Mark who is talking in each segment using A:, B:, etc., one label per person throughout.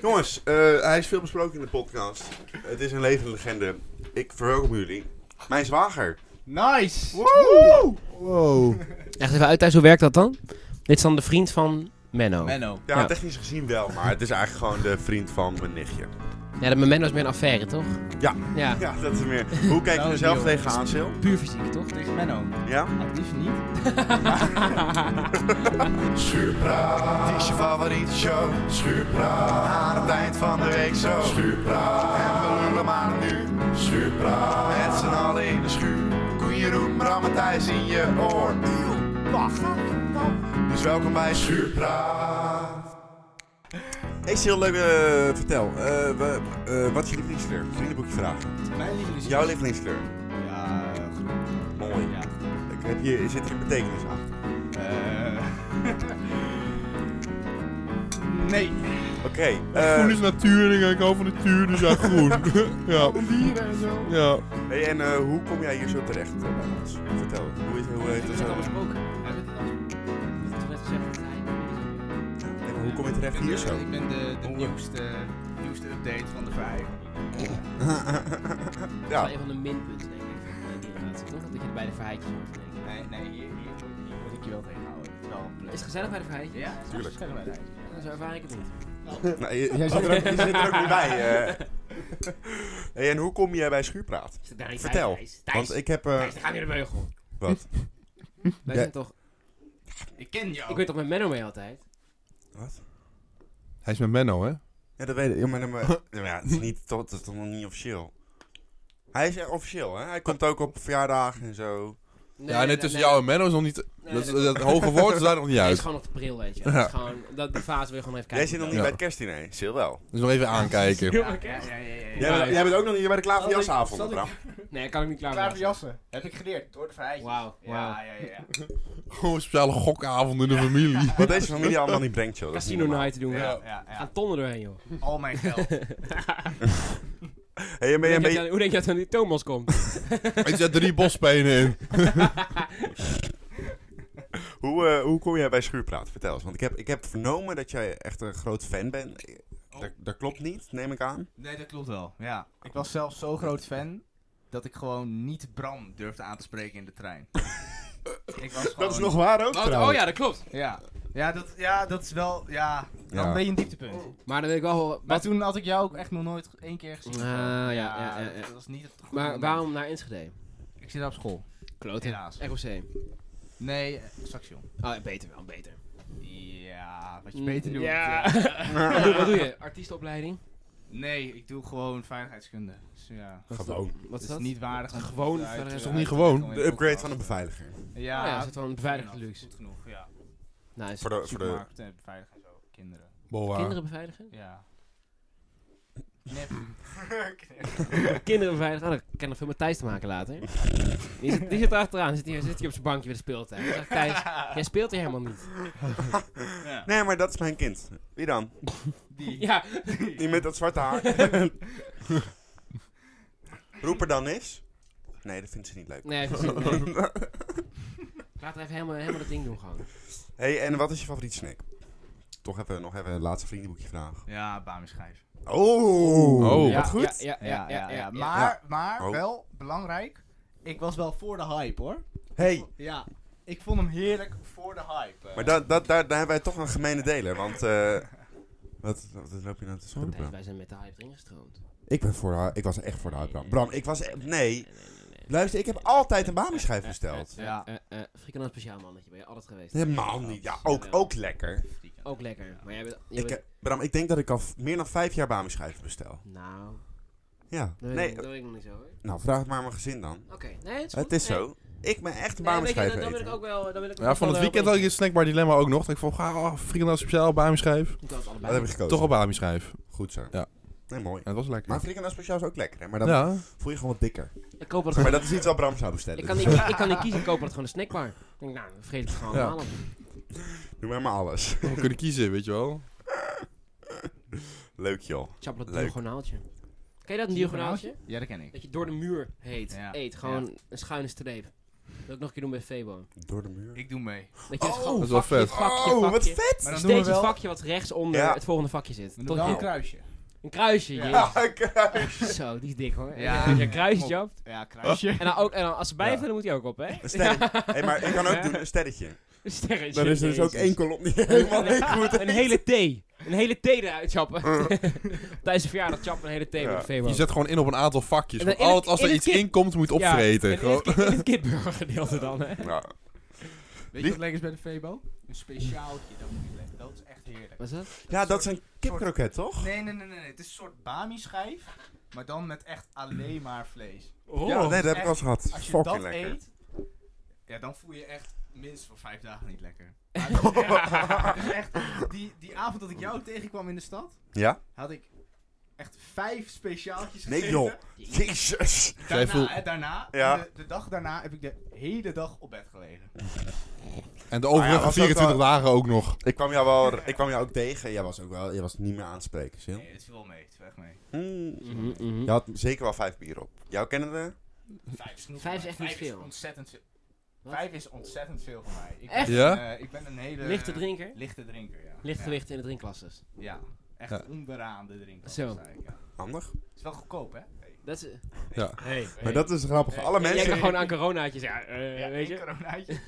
A: Jongens, eh, hij is veel besproken in de podcast. Het is een levende legende. Ik verwelkom jullie. Mijn zwager.
B: Nice!
C: Wow. Echt even uit thuis, hoe werkt dat dan? Dit is dan de vriend van Menno.
B: Menno.
A: Ja,
C: Ja.
A: technisch gezien wel, maar het is eigenlijk gewoon de vriend van mijn nichtje.
C: Ja, dat met Menno is meer een affaire, toch?
A: Ja.
C: Ja,
A: Ja, dat is meer. Hoe kijk je
B: Nou,
A: er zelf
B: Dion.
A: tegenaan, Sil?
C: puur fysiek, toch?
B: Tegen Menno.
A: Ja?
B: Het liefst niet.
D: Schuurpraat is je favoriete show. Schuurpraat aan het eind van de week zo. Schuurpraat en we lullen maar nu. Schuurpraat met z'n allen in de schuur. Koen Jeroen, Bram en Thijs in je oor. Wacht. Dus welkom bij Schuurpraat.
A: Hey Sil, leuk, eh, vertel. Eh, we- eh, wat is je lievelingskleur? Vriendenboekje vragen.
B: Mijn liefde
A: Jouw lievelingskleur?
B: Ja, eh, groen.
A: Mooi.
B: Ja.
A: Ik heb hier, zit er een betekenis achter?
B: Eh. nee.
A: Oké.
E: groen
A: eh,
E: is natuurlijk, en ik hou van natuur, dus ja, groen. ja.
B: Dieren en zo.
E: ja.
A: Hey, en eh, hoe kom jij hier zo terecht eh, bij ons? Vertel, hoe, is, hoe heet het? eh, en hoe kom je terecht hier zo?
B: Ik ben de, de nieuwste, nieuwste update van de vijf.
C: Dat
A: ja,
C: is wel een van de minpunten, denk ik, van eh, die relatie, toch? Dat je er bij de verheidjes hoort te denken.
B: Nee, nee, hier, hier, hier moet ik je wel tegenhouden. Het is wel een plek.
C: Is het gezellig bij de verheidjes?
B: Ja,
A: Tuurlijk.
B: Schrijf maar uit.
C: Ja, Zo ervaar ik het niet.
A: nou, je, jij zit er ook, je zit er ook niet bij. eh. Hey, en hoe kom jij bij Schuurpraat?
C: Is het daar niet bij,
A: Vertel,
C: Thijs? Thijs,
A: want ik heb... eh,
C: Thijs, dan gaan we naar de beugel.
A: wat?
C: Wij
A: Ja.
C: zijn toch...
B: Ik ken jou.
C: Ik weet toch met Menno mee altijd?
A: Wat?
E: Hij is met Menno, hè?
A: Ja, dat weet ik. Ja, maar, dan- maar- ja, maar ja, het is niet, toch- dat is toch nog niet officieel? Hij is echt officieel, hè? Hij komt ook op verjaardagen en zo.
E: ja, net tussen jou en Menno is nog niet...
C: Nee,
E: dat, is-
C: dat-
E: dat hoge woord is daar nog niet
C: Hij is
E: uit.
C: gewoon nog de pril, weet je. Dat is gewoon... Dat, die fase wil je gewoon
A: Jij
C: even kijken.
A: zit nog niet
E: Ja.
A: bij het kerstdiner, Sil wel.
E: Dus nog even aankijken.
C: Heel erg, hè?
B: Ja, ja, ja, ja.
A: Jij, bent- jij bent ook nog niet bij de
B: Zal
A: klaverjasavond,
B: ik-
A: Bram.
C: Nee, daar kan ik niet klaar
B: Klaar voor
C: maken.
B: jassen. Heb ik geleerd door de vrijheid.
C: Wauw, wauw.
B: Ja, ja, ja.
E: Gewoon Oh, een speciale gokavond in de familie.
A: Wat deze familie allemaal niet brengt, joh. dat is niet
C: Casino
A: normaal.
C: night doen we.
B: ja.
C: Gaan
B: ja, ja.
C: tonnen doorheen, joh.
B: Al mijn geld.
A: Hey, en ben je een
C: Hoe denk
A: beetje...
C: je- Hoe denk je dat dan die Thomas komt?
E: Ik zet drie bospenen in.
A: Hoe, eh, hoe kom jij bij Schuurpraat? Vertel eens. Want ik heb, ik heb vernomen dat jij echt een groot fan bent. Eh, Dat, dat klopt niet, neem ik aan.
B: Nee, dat klopt wel. Ja. Ik was zelfs zo groot fan dat ik gewoon niet Bram durfde aan te spreken in de trein. ik was gewoon...
A: waar ook.
C: Oh ja, dat klopt.
B: Ja. Ja, dat, ja, dat is wel... Ja,
A: Ja.
B: wel een beetje een dieptepunt.
C: Maar dan weet ik wel...
B: Maar
C: Wat,
B: toen had ik jou ook echt nog nooit één keer gezien.
C: Ah, ja, ja, ja, ja.
B: Dat was niet het goede
C: maar
B: moment.
C: waarom naar Enschede?
B: Ik zit op school.
C: Kloot,
B: Helaas.
C: ROC.
B: Nee, eh, station.
C: Oh, beter wel, beter.
B: Ja,
C: Mm,
B: wat je beter doet.
C: Ja.
B: eh.
C: wat, doe, wat doe je? Artiestenopleiding?
B: Nee, ik doe gewoon veiligheidskunde. Dus ja.
C: Wat is dat?
A: Gewoon.
C: Wat is
B: Het
C: dat?
B: is niet waardig. om
C: Gewoon
B: te- uit-
C: verder- Is
E: toch niet
B: uit-
E: gewoon?
B: uit-
A: De upgrade van een beveiliger.
B: Ja,
C: Oh ja, zit wel een beveiligde
B: goed
C: luxe.
B: Goed genoeg, ja.
C: Nice.
A: Voor de, Eh, voor de,
B: Supermarkt en beveiligen en zo. Kinderen.
E: Boa.
C: Kinderen beveiligen?
B: Ja. Nep.
C: Kinderen beveiligen? Oh, dat kan nog veel met Thijs te maken later. Die zit, die zit er achteraan. Zit hier, zit hier op zijn bankje bij de speeltuin. Dan zegt Thijs, jij speelt hier helemaal niet.
B: ja.
A: Nee, maar dat is mijn kind. Wie dan?
B: Die.
C: Ja.
A: Die met dat zwarte haar. Roep er dan eens. Nee, dat vindt ze niet leuk.
C: Nee, precies, nee. Laat er even helemaal, helemaal dat ding doen gewoon.
A: Hey, en wat is je favoriete snack? Toch even, nog even een laatste vriendenboekje vragen.
B: Ja, Bamischijf.
A: Oh,
E: Oh.
C: ja,
A: wat goed.
C: Ja, ja, ja. ja, ja, ja.
B: Maar, maar
A: Oh.
B: wel belangrijk. Ik was wel voor de hype hoor.
A: Hey,
B: Ja. Ik vond hem heerlijk voor de hype. eh.
A: maar dat, dat, daar, daar hebben wij toch een gemene deler. Want, eh, wat, wat loop je nou te schroepen?
C: Thijs, wij zijn met de hype erin gestroomd.
A: Ik, ben voor de, ik was echt voor de hype, Bram. Bram, ik was... e- Nee,
C: Nee, nee, nee, nee.
A: luister, ik heb altijd een Bami-schijf besteld.
B: Ja.
C: Eh, eh, eh, Frikandel speciaal mannetje, ben je altijd geweest.
A: Helemaal niet. Ja, ook, ook lekker.
C: Ook lekker. Maar jij bent... jij
A: Ik,
C: bent-
A: heb- Bram, ik denk dat ik al f- meer dan vijf jaar Bami-schijven bestel.
C: Nou,
A: Ja.
C: dat weet,
A: Nee,
C: ik, dat weet ik nog niet zo hoor.
A: nou, vraag het maar aan mijn gezin dan.
C: Oké, nee, het is, goed.
A: Het is
C: Nee.
A: zo. Ik ben echt een
C: Nee, weet je, dan,
A: Bami-schijf
C: dan wil ik
A: eten.
C: ook wel... Dan wil ik ook
E: Ja, van
C: wel
E: het
C: erop
E: weekend had ik
C: in.
E: het snackbar dilemma ook nog. Dat ik vond, ga, oh, vrienden speciaal bij me schrijf.
C: Ik had het
A: Dat
C: allebei.
A: heb ik gekozen.
E: Toch op bij me schrijf.
A: Goed zo.
E: Ja.
A: Nee, mooi.
E: Ja, dat was lekker.
A: Maar frikandel speciaal is ook lekker, hè? Maar dan
E: Ja.
A: voel je gewoon wat dikker.
C: Ik koop het
A: Maar
C: gewoon.
A: dat is iets wat Bram zou bestellen. Dus
C: Ik kan, niet, ik kan niet kiezen, ik koop het gewoon een snackbar. Ik denk, nou, dan vreet ik het gewoon
E: Ja.
C: allemaal op.
A: Doe maar maar alles.
E: We kunnen kiezen, weet je wel.
A: Leuk, joh.
C: Chap dat
A: Leuk.
C: diagonaaltje. Ken je dat, een diagonaaltje?
B: Ja, dat ken ik.
C: Dat je door de muur heet,
B: Ja.
C: eet. Gewoon een schuine streep. wil ik nog een keer doen bij Febo.
A: Door de muur.
B: Ik doe mee.
C: Dat je
A: Oh,
C: het
E: dat
C: gewoon
E: is wel
C: vakje,
E: vet.
C: vakje,
A: Oh, wat
C: vakje.
A: vet!
B: Maar dan doen we
C: Steeds
B: wel,
C: het vakje wat rechts onder
A: Ja.
C: het volgende vakje zit.
B: dan doen
C: Tot
B: we wel
C: je-
B: een kruisje.
C: Een kruisje,
B: Ja.
A: Ah, kruis.
C: jezus. Zo, die is dik hoor.
B: Ja.
C: Ja. Als je een kruisje jumpt.
B: Ja, kruisje.
A: Oh.
C: En dan ook, en dan als ze
E: Ja.
C: blijven, dan moet hij ook op, hè?
A: Een sterretje. Hey, maar ik kan ook doen een sterretje.
C: Een sterretje.
A: Dan is er dus ook
C: Jezus.
A: één kolom die helemaal
C: Een-
A: leeg moet.
C: Een hele thee. Een hele thee eruit chappen. Tijdens een verjaardag chappen een hele thee
A: Mm. Ja.
C: met de Febo.
E: Je zet gewoon in op een aantal vakjes.
C: En dan
E: Want
C: in
E: altijd
C: het-
E: als er
C: in
E: iets
C: het kit-
E: inkomt, moet je het opvreten.
C: Ja, in
E: Gewoon-
C: het ki- in het kidburger gedeelte dan, hè?
A: Ja.
B: Weet je wat lekker is bij de Febo? Een speciaaltje, dat moet je leggen. Dat is echt heerlijk.
C: Wat is dat?
A: ja, dat is een kipkroket, toch?
B: Nee, nee, nee, nee. nee. Het is een soort bami-schijf, maar dan met echt alleen maar vlees.
C: Oh.
A: ja, nee, dat heb ik
B: echt-
A: al eens gehad.
B: Als je
A: Fucking
B: dat
A: lekker.
B: eet, ja, dan voel je echt minstens voor vijf dagen niet lekker. Maar het is echt- het is echt, die, die avond dat ik jou tegenkwam in de stad,
A: Ja?
B: had ik echt vijf speciaaltjes
A: Nee,
B: gegeten.
A: joh. Jezus.
E: Zij
B: Daarna,
E: voelt-
B: hè, daarna
A: Ja.
B: de, de dag daarna heb ik de hele dag op bed gelegen.
E: En de
A: Maar ja,
E: overige
A: was dat
E: 24
A: wel-
E: dagen ook nog.
A: Ik kwam jou wel, ik kwam jou ook tegen. Jij was ook wel, jij was niet meer aanspreken, Sil.
B: Nee, het viel wel mee, het viel echt mee.
A: Mm.
C: Mhm, mhm.
A: Je had zeker wel vijf bier op. Jouw kennende?
B: Vijf is genoeg.
C: Vijf is
B: voor
C: echt
B: mij.
C: niet
B: Vijf
C: veel.
B: Is ontzettend veel.
C: Wat?
B: Vijf is ontzettend veel voor mij. Ik
C: Echt?
B: Ben,
E: Ja?
B: eh, ik ben een hele...
C: Lichte drinker.
B: Lichte drinker, ja.
C: Licht
B: ja.
C: gewicht in de drinkklasses.
B: Ja. Echt
E: Ja.
B: onderaan de drinker.
C: Zo.
B: Ja.
A: Handig.
B: Is wel goedkoop, hè? Hey.
C: Dat is...
E: Ja.
C: Hey.
A: Maar dat is grappig. Alle
C: Jij kan
A: mensen,
C: gewoon aan coronaatjes, ja, eh,
B: Ja,
C: weet
B: één
C: je.
B: coronaatje.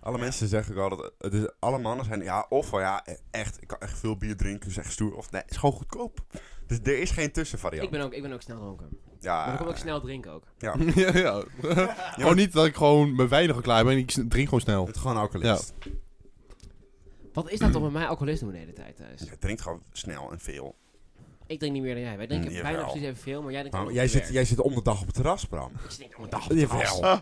A: alle mensen zeggen ook altijd, het is, alle mannen zijn, ja, of wel, ja, echt, ik kan echt veel bier drinken, zeg stoer, of nee, het is gewoon goedkoop. Dus er is geen tussenvariant.
C: Ik ben ook, ik ben ook snel dronken. Maar
A: ja,
C: ik kom ook snel drinken ook.
E: ja, ja. Gewoon niet dat ik gewoon mijn wijn nog klaar ben. Ik s- drink gewoon snel.
A: het is gewoon alcoholist.
C: Wat is dat toch met mij alcoholisme de hele tijd thuis?
A: Je Dus drinkt gewoon snel en veel.
C: Ik drink niet meer dan jij. Wij drinken
A: Mm,
C: bijna
A: jawel.
C: precies evenveel, maar jij drinkt
A: Nou,
C: ook
A: jij,
C: niet
A: zit, jij zit om de dag op het terras, Bram.
C: meer. Ik zit niet op mijn dag op het terras.
A: Jawel.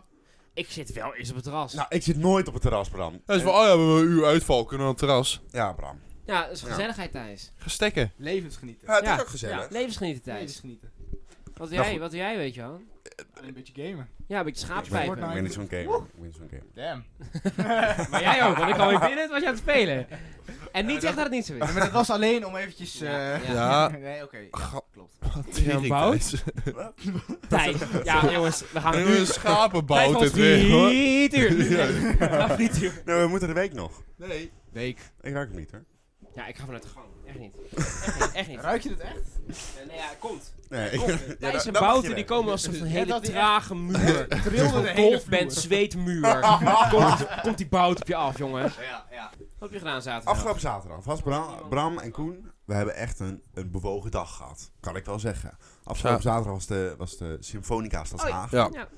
C: Ik zit wel eens op het terras.
A: Nou, ik zit nooit op het terras, Bram.
E: Dat is van, oh ja, we hebben een uur uitval. Kunnen we naar het terras?
A: Ja, Bram.
C: ja, dat is gezelligheid thuis.
E: Ga stekken.
B: Levensgenieten.
A: Ja, dat
C: Ja,
A: is ook gezellig.
C: Ja, levensgenieten thuis.
B: Levensgenieten.
C: Wat doe
A: Nou,
C: jij,
A: goed. Nou,
C: wat doe jij, weet je wel?
B: Alleen een beetje gamen.
C: Ja, een beetje schaapspijpen.
A: Ik
B: Fortnite.
A: ben niet zo'n gamer. Ik ben niet zo'n gamer.
B: Damn.
C: Maar jij ook, want ik kwam weer binnen, het was je aan het spelen. En niet zeggen dat het niet zo is.
B: maar dat was alleen om eventjes...
C: Ja,
B: eh,
E: ja.
B: nee, oké. ja,
E: Ga-
B: klopt.
C: een bout? Tijd. Ja, jongens, we gaan
E: En
C: nu...
E: een
C: Tijd
E: schapenbout
C: voor
E: dit weer, hoor.
C: frietuur. Ja, frietuur.
A: Nee, Nou, we moeten de week nog.
E: Nee.
B: Week.
A: Ik ruik het niet, hoor.
C: Ja, ik ga vanuit de gang. Echt niet. Echt niet, echt niet. Eh,
B: Ruik je het echt?
C: Nee, nee, ja, komt.
A: Nee,
C: Komt.
A: Ja, dat-
C: Thijs en
A: dat mag je
C: Bouten, die
A: weg.
C: komen als een soort
B: Ja,
C: hele
B: dat die echt-
C: trage muur.
B: Trilde de hele
C: Golf
B: vloer.
C: bent zweetmuur. komt, komt die bout op je af, jongen.
B: Ja, ja.
C: Wat heb je gedaan zaterdag?
A: Afgelopen zaterdag was Bram, Bram en Koen. We hebben echt een, een bewogen dag gehad. Kan ik wel zeggen. Afgelopen
E: Ja.
A: zaterdag was de, was de Symfonica Stadshaag.
E: Ja.
C: Ja.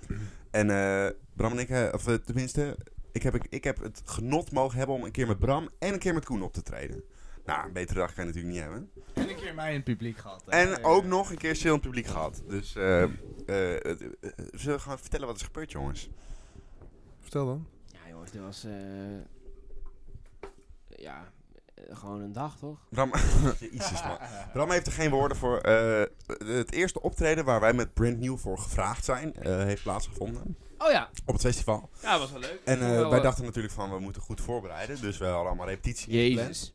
A: En eh, Bram en ik, eh, of eh, tenminste, ik heb, ik heb het genot mogen hebben om een keer met Bram en een keer met Koen op te treden. Nou, een betere dag kan je natuurlijk niet hebben.
B: En een keer mij in het publiek gehad. hè.
A: En
B: Ja,
A: ook
B: ja.
A: nog een keer stil in het publiek gehad. Dus eh eh, eh, eh, zullen we gaan vertellen wat is gebeurd, jongens?
E: Vertel dan.
C: ja, jongens, dit was... eh, ja, eh, gewoon een dag, toch?
A: Bram, Jezus, man. Bram heeft er geen woorden voor. Eh, het eerste optreden waar wij met Brand New voor gevraagd zijn, eh, heeft plaatsgevonden.
C: Oh ja,
A: Op het festival.
C: ja, dat was wel leuk.
A: En eh,
C: Wel,
A: wij
C: eh,
A: dachten natuurlijk van, we moeten goed voorbereiden. Dus we hadden allemaal repetities. gepland.
C: Jezus.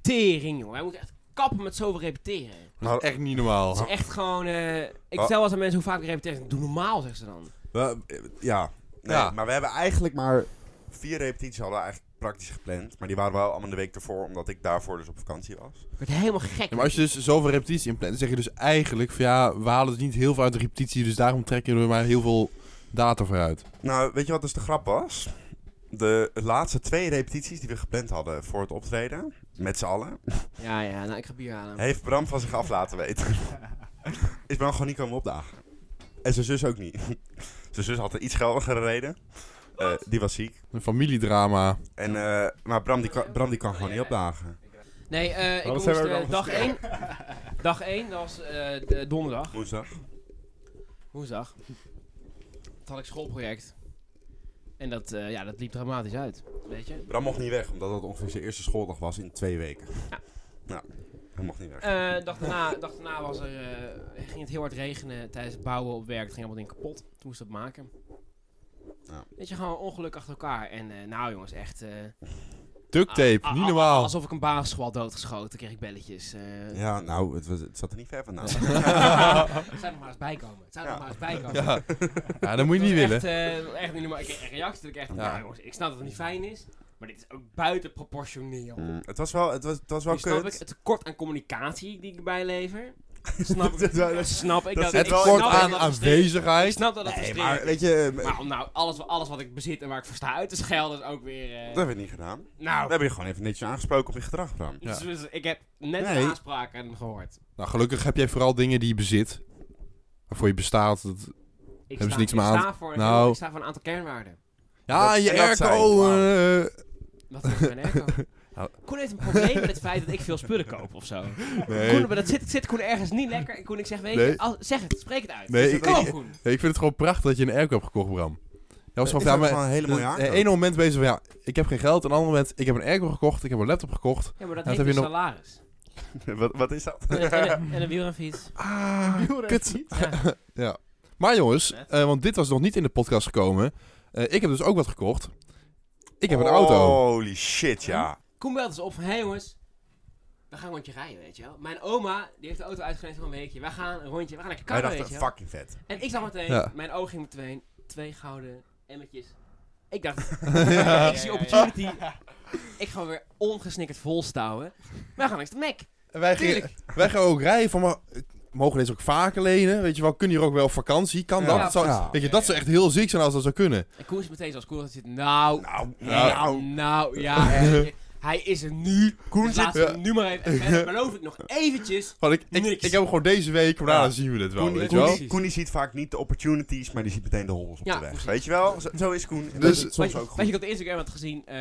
C: Tering, jongen. Wij moeten echt kappen met zoveel repeteren.
A: Nou,
E: Echt niet
C: Het
E: normaal.
C: is echt gewoon... eh, ik
A: Ah.
C: vertel wel eens aan mensen hoe vaak ik repeteer. Ik zeg, Doe normaal, zeggen ze dan.
A: we- eh, ja. Nee,
E: Ja.
A: Maar we hebben eigenlijk maar vier repetities hadden we eigenlijk praktisch gepland. Maar die waren wel allemaal de week ervoor, omdat ik daarvoor dus op vakantie was.
C: Ik werd helemaal gek.
E: Ja, maar als je dus zoveel repetitie inplant, dan zeg je dus eigenlijk van ja, we halen dus niet heel veel uit de repetitie, dus daarom trekken we maar heel veel data vooruit.
A: Nou, weet je wat dus de grap was? De laatste twee repetities die we gepland hadden voor het optreden, met z'n allen,
C: Ja, ja, nou, ik ga bier halen.
A: Heeft Bram van zich af laten weten. Is Bram gewoon niet komen opdagen. En zijn zus ook niet. Zijn zus had een iets geldigere reden. Eh, die was ziek.
E: Een familiedrama.
A: En, eh, maar Bram die, kan, Bram die kan gewoon niet opdagen.
C: Nee, eh, ik
A: dat
C: moest
A: zijn we
C: eh,
A: ook al
C: dag 1. Dag 1, dat was eh, de- donderdag.
A: Woensdag.
C: Woensdag. Toen had ik schoolproject. En dat, eh, ja, dat liep dramatisch uit. Weet je?
A: Bram mocht niet weg, omdat dat ongeveer zijn eerste schooldag was in twee weken.
C: Ja.
A: Nou, hij mocht niet weg.
C: Eh, dag, daarna, dag daarna was er, eh, ging het heel hard regenen tijdens het bouwen op werk. Het ging allemaal ding kapot. Toen moest dat maken.
A: Ja.
C: Weet je, gewoon ongeluk achter elkaar. En eh, nou jongens, echt... eh,
E: Duct tape,
C: Ah,
E: niet
C: ah,
E: normaal.
C: Alsof ik een basisschool had doodgeschoten, kreeg ik belletjes. eh.
A: Ja, nou, het, was, het zat er niet ver vandaan.
C: het zou er nog maar eens bijkomen. Het zou er nog maar eens bijkomen.
E: Ja. ja, dat moet je niet
C: Dat
E: willen.
C: was Echt, eh, echt niet normaal. Ik kreeg een reactie. dat Ik, echt,
E: Ja.
C: nou, jongens, ik snap dat het niet fijn is, maar dit is ook buiten proportioneel.
A: Mm, het was wel, het was, het was wel
C: Nu snap ik
A: kut.
C: het tekort aan communicatie die ik erbij lever. Snap ik. dat snap ik.
A: dat zit
C: Dat,
E: Het
C: ik
A: wel
E: kort
C: snap dat
E: aan
C: dat frustrerend- Ik
E: aanwezigheid.
C: snap dat dat
A: Nee,
C: frustrerend
A: maar weet je,
C: is. Maar om nou alles, alles wat ik bezit en waar ik voor sta uit te schelden is ook weer... eh,
A: dat hebben we niet gedaan. We
C: nou,
A: hebben je gewoon even netjes aangesproken op je gedrag, Bram.
E: Ja.
C: dus- dus ik heb net
A: Nee.
C: een aanspraak aan hem gehoord.
E: Nou, gelukkig heb jij vooral dingen die je bezit. Waarvoor je bestaat. Dat...
C: Ik
E: Hebben ze
C: sta,
E: niks
C: ik
E: meer aan-
C: sta voor,
E: Nou.
C: ik sta voor een aantal kernwaarden.
E: Ja,
A: Dat-
E: je
A: en dat zijn,
E: airco.
A: wauw.
E: eh,
C: Wat is mijn airco?
E: Nou.
C: Koen heeft een probleem met het feit dat ik veel spullen koop of zo. Koen,
E: nee.
C: maar dat zit, zit Koen ergens niet lekker. En Koen, ik zeg, weet je,
E: Nee.
C: al- zeg het, spreek het uit.
E: Nee,
C: Is
E: ik-
C: het wel,
E: ik-
C: Koen?
E: Nee, ik vind het gewoon prachtig dat je een airco hebt gekocht, Bram. Jij was
A: Het
E: gewoon,
A: Eh, is
E: van, ja,
A: ook
E: maar-
A: gewoon een hele mooie
E: dat-
A: airco.
E: ene moment bezig van, ja, ik heb geen geld. En een ander moment, ik heb een airco gekocht. Ik heb een laptop gekocht.
C: Ja, maar dat
E: Nou, heb
C: heeft
E: je
C: een
E: nog-
C: salaris.
A: wat, wat is dat?
C: En een- en een- en een wielrenfiets.
E: Ah, kut.
C: Ja.
E: Maar jongens,
B: Net.
E: eh, want dit was nog niet in de podcast gekomen. Eh, ik heb dus ook wat gekocht. Ik heb een
A: Oh.
E: auto. Hm?
A: Holy shit, ja.
C: Koen belt ons op van, hé jongens, we gaan een rondje rijden, weet je wel. Mijn oma, die heeft de auto uitgeleend voor een weekje. Wij gaan een rondje, we gaan lekker
A: Hij
C: karren, weet
A: dacht,
C: je wel.
A: fucking vet.
C: En ik zag meteen,
E: Ja.
C: mijn oog ging meteen, twee gouden emmertjes. Ik dacht,
E: Ja.
C: ik zie opportunity. Ik ga weer ongesnikkerd volstouwen. Wij gaan langs de Mac.
E: En Wij gingen,
C: Tuurlijk.
E: wij gaan ook rijden van, maar, eh, mogen deze ook vaker lenen? Weet je wel, kunnen hier ook wel op vakantie? Kan
A: Ja,
E: dat? Dat zou-
A: precies.
E: Weet je, dat zou echt heel ziek zijn als dat zou kunnen.
C: En Koen is meteen zoals Koen altijd zit, nou,
A: Nou, nou.
C: nou, nou, ja. weet je, Hij is er nu. Koen
E: zit-
C: zit
E: Ja.
C: er nu maar even. En verder beloof ik nog eventjes.
E: Gewoon, ik, ik,
C: Niks.
E: ik heb hem gewoon deze week, maar daarna
A: Ja.
E: zien we het wel,
A: Koen,
E: weet je
A: Koen,
E: wel?
A: die- Koen die ziet vaak niet de opportunities, maar die ziet meteen de hobbels op
C: Ja,
A: de weg.
C: precies.
A: Weet je wel? Zo, zo is Koen. En
E: Dus-
A: dat is
C: Weet
A: soms
C: je,
A: ook
C: weet
A: goed.
C: je, ik had de Instagram had gezien eh,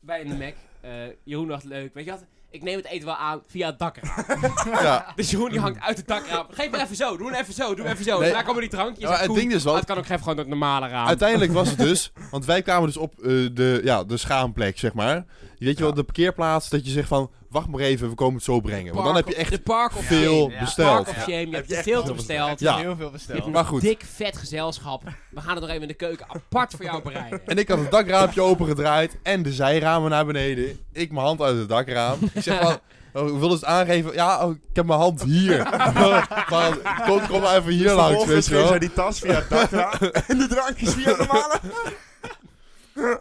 C: bij in de Mac. Eh, Jeroen dacht leuk. Weet je wat? Ik neem het eten wel aan via het dakraam.
E: Ja.
C: dus Jeroen die hangt uit het dakraam. Geef maar even zo. Doe maar even zo. Doe maar even zo.
E: Nee.
C: Daar komen die drankjes.
E: Ja, maar
C: en
E: het
C: Koen,
E: ding is wel-
C: ah, Het kan ook even gewoon door het normale raam.
E: Uiteindelijk was het dus, want wij kwamen dus op eh, de, ja, de schaamplek, zeg maar. Weet je wel, de parkeerplaats, dat je zegt van, wacht maar even, we komen het zo brengen. Want dan
C: Park
E: heb
C: of-
E: je echt
C: de park of
E: veel
C: shame.
B: ja.
E: besteld.
C: Park of
B: Ja.
C: shame. Je
A: Heb
C: hebt
A: je
C: te
A: echt
C: veel
A: veel
C: te besteld.
E: Ja.
B: Heel veel
C: Je hebt
B: besteld.
C: een
E: Maar goed.
C: dik vet gezelschap. We gaan het nog even in de keuken apart voor jou bereiden.
E: En ik had het dakraampje opengedraaid en de zijramen naar beneden. Ik mijn hand uit het dakraam. Ik zeg van, oh, wil eens aangeven? Ja, oh, ik heb mijn hand hier. Van, kom, kom maar even
C: Dus
E: hier langs,
A: Vervolgens ging
E: weet je
A: zij
E: wel.
A: die tas via het dakraam en de drankjes via de malen.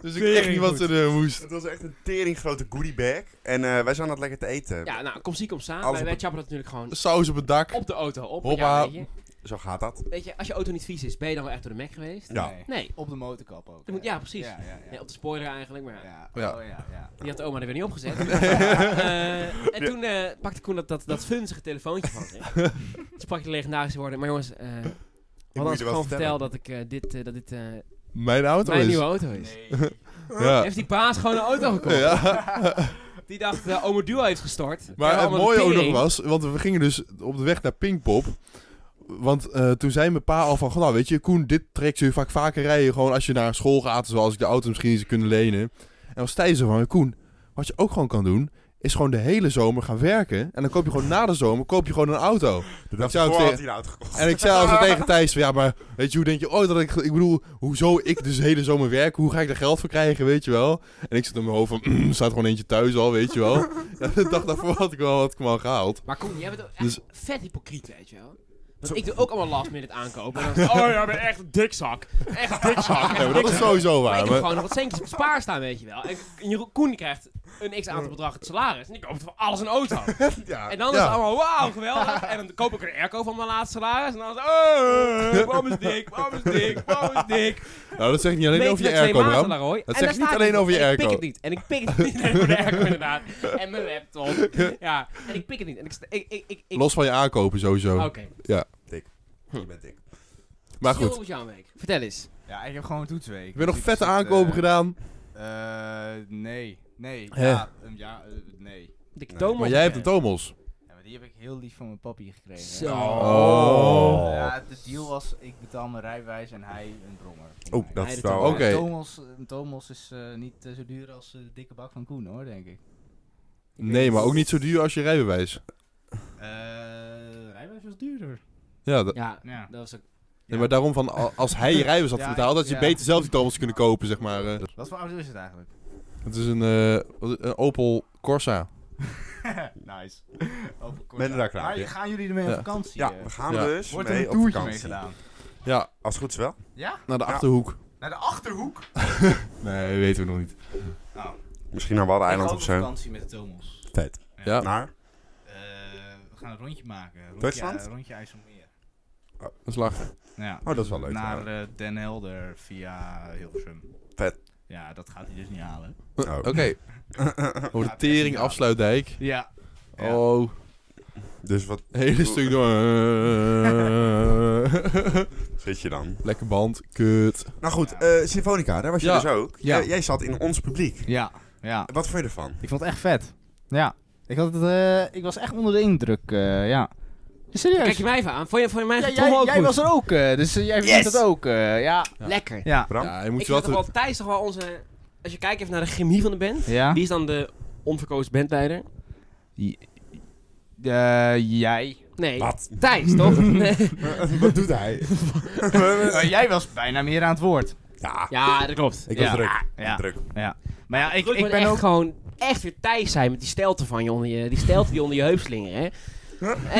E: Dus ik echt niet wat ze er moest.
A: Het was echt een tering grote goodie bag. En eh, wij zaten dat lekker te eten.
C: Ja, nou, kom ziek om samen.
A: Alles
C: Wij,
A: op
C: wij
A: het-
C: chappen dat natuurlijk gewoon
E: Saus op het dak.
C: op de auto op.
E: Hoppa.
C: Ja, weet, je,
A: Zo gaat dat.
C: weet je, als je auto niet vies is, ben je dan wel echt door de Mac geweest?
A: Ja.
B: Nee.
C: Nee.
B: Op de motorkap ook.
C: Dat moet- ja, precies.
B: Ja, ja, ja.
C: Nee, op de spoiler eigenlijk, maar ja.
B: Ja,
E: Ja.
B: oh ja, ja.
C: die had de oma er weer niet opgezet. Eh, en toen eh, pakte Koen dat, dat, dat funzige telefoontje van zich. Dus pakte de legendarische woorden. Maar jongens, eh
A: je
C: wat als ik
A: er wel
C: gewoon vertel
A: vertellen.
C: dat, ik, eh, dit, eh, dat dit eh,
E: Mijn auto
C: mijn
E: is.
C: nieuwe auto is.
E: Ja.
C: Heeft die baas gewoon een auto gekocht?
E: Ja.
C: Die dacht, eh oma Duo heeft gestort.
E: Maar het
C: Allemaal de
E: mooie ook nog
C: tering.
E: was, want we gingen dus op de weg naar Pinkpop. Want eh, toen zei mijn pa al van, goh, nou weet je, Koen, dit trekt je vaak vaker rijden. Gewoon als je naar school gaat, zoals ik de auto misschien eens kunnen lenen. En was Thijs zo van, Koen, wat je ook gewoon kan doen, is gewoon de hele zomer gaan werken. En dan koop je gewoon na de zomer, koop je gewoon een auto.
A: De dag
E: zou ik
A: ervoor had
E: zeggen-
A: hij eruit gekocht.
E: En ik zei al zo tegen Thijs van, ja, maar weet je, hoe denk je, oh, dat ik, ik bedoel, hoezo ik dus de hele zomer werk, hoe ga ik daar geld voor krijgen, weet je wel? En ik zit in mijn hoofd van, mm, er staat gewoon eentje thuis al, weet je wel. En de dag daarvoor had ik wel wat kwam gehaald.
C: Maar Koen, jij bent ook echt
E: Dus-
C: vet hypocriet, weet je wel.
A: Zo.
C: Want ik doe ook allemaal last minute aankopen. En dan, oh ja, ik ben echt een dikzak. Echt een dikzak.
E: Ja, maar dat is sowieso
C: Maar
E: waar.
C: ik heb
E: Maar,
C: gewoon nog wat centjes op spaar staan, weet je wel. En Jeroen Koen krijgt een x-aantal bedrag het salaris. En die koopt voor alles een auto.
A: Ja.
C: En dan is
E: Ja.
C: het allemaal wauw, geweldig. En dan koop ik een airco van mijn laatste salaris. En dan is het, oh, Bram is dik, Bram is dik, Bram is dik.
E: nou, dat zegt niet alleen
C: Meter
E: over je
C: met twee
E: airco,
C: maten,
E: Bram.
C: Laroy. En
E: Dat zegt
C: daar
E: niet
C: staat
E: alleen
C: hij.
E: over je
C: En
E: airco.
C: Ik pik het niet. En ik pik het niet alleen over de airco, inderdaad. En mijn laptop. Ja, en ik pik het niet. En ik... sta- ik, ik, ik, ik
E: Los van je aankopen sowieso.
C: Oké. Hm.
A: Je bent dik.
E: Maar
C: Chill
E: goed,
C: op jouw week. Vertel eens.
B: Ja, ik heb gewoon een toetsweek.
E: ik ben nog
B: Dus
E: vette
B: zit, eh,
E: aankopen gedaan.
B: eh, nee. Nee.
E: Hè?
B: Ja, ehm, ja eh, nee.
C: De
A: Nee,
C: Thomas.
E: Maar jij hebt een Tomos.
B: Ja, maar die heb ik heel lief van mijn papi gekregen.
C: Zo.
E: Oh.
B: Ja, de deal was, ik betaal mijn rijbewijs en hij een brommer. voor
A: Oeh,
B: mij.
A: Oh, dat
C: Nee,
A: is
C: dat
A: wel...
E: ook. Oké.
B: Een Tomos, een Tomos is eh, niet eh, zo duur als eh, de dikke bak van Koen hoor, denk ik.
E: Nee, maar ook niet zo duur als je rijbewijs.
B: Eh, rijbewijs was duurder.
E: Ja, dat-
C: Ja,
B: Ja.
C: dat was ook...
E: nee, maar daarom van, al- als hij je rijbewijs had
B: Ja,
E: betaald, had je
B: ja.
E: beter zelf die Tomos kunnen kopen, zeg maar. eh.
B: Wat voor auto is het eigenlijk?
E: Het is een, eh, wat is- een Opel Corsa.
B: nice. Oh,
A: Ben er daar klaar
B: Maar
A: mee?
B: gaan jullie ermee op
E: Ja.
B: vakantie?
A: Ja,
B: eh?
A: we gaan
E: Ja.
A: dus
B: Wordt er
A: mee
B: een
A: op
B: toertje
A: vakantie.
B: mee gedaan?
E: Ja,
A: Als het goed is wel.
B: Ja?
E: naar de
A: Ja.
E: Achterhoek.
B: Naar de Achterhoek?
E: Nee, weten we nog niet.
B: Nou,
A: Misschien naar Waddeneiland
B: ik ga ook
A: of
B: op
A: zo.
B: vakantie met de Tomos.
A: Tijd.
E: Ja.
A: Naar?
B: Eh, we gaan een rondje maken. Rondje,
A: Duitsland?
B: eh, rondje IJsselmeer.
E: Dat is lachen.
B: Ja.
A: Oh, dat is wel leuk.
B: Naar eh, Den Helder via Hilversum.
A: Vet.
B: Ja, dat gaat hij dus niet halen.
A: Oh.
E: Oké. Over de tering afsluitdijk.
B: Ja. Ja.
E: Oh,
A: Dus wat
E: hele stuk door.
A: zit je dan?
E: Lekker band, kut.
A: Nou goed, eh Symfonica, daar was je
E: Ja.
A: dus ook.
B: Ja.
A: Jij- jij zat in ons publiek.
B: ja, ja.
A: Wat vond je ervan?
B: Ik vond het echt vet. Ja. Ik, had het, eh, ik was echt onder de indruk, eh, ja. Serieus.
C: Kijk je mij even aan. Vond je, vond je mijn
B: Ja,
C: getrommel
B: jij,
C: ook
B: jij
C: goed?
B: was er ook, eh, dus eh, jij vindt het ook, eh, ja.
C: Lekker.
B: Ja.
A: Bram?
E: Ja, je
C: ik
E: moet je
C: vind
E: wat.
C: toch wel Thijs toch wel onze... Als je kijkt even naar de chemie van de band.
B: Ja.
C: Wie is dan de onverkozen bandleider?
B: eh, jij.
C: Nee.
A: Wat?
C: Thijs, toch? Nee.
A: wat doet hij?
B: Eh, jij was bijna meer aan het woord.
A: ja,
C: ja, dat klopt.
A: ik was
B: Ja.
A: druk.
B: Ja.
A: druk.
B: Ja. Maar ja, ik,
C: Ik,
B: ik ben
C: echt
B: ook...
C: gewoon echt weer Thijs zijn met die stelten van je onder je, die stelten die onder je heup slingeren, hè. Ik,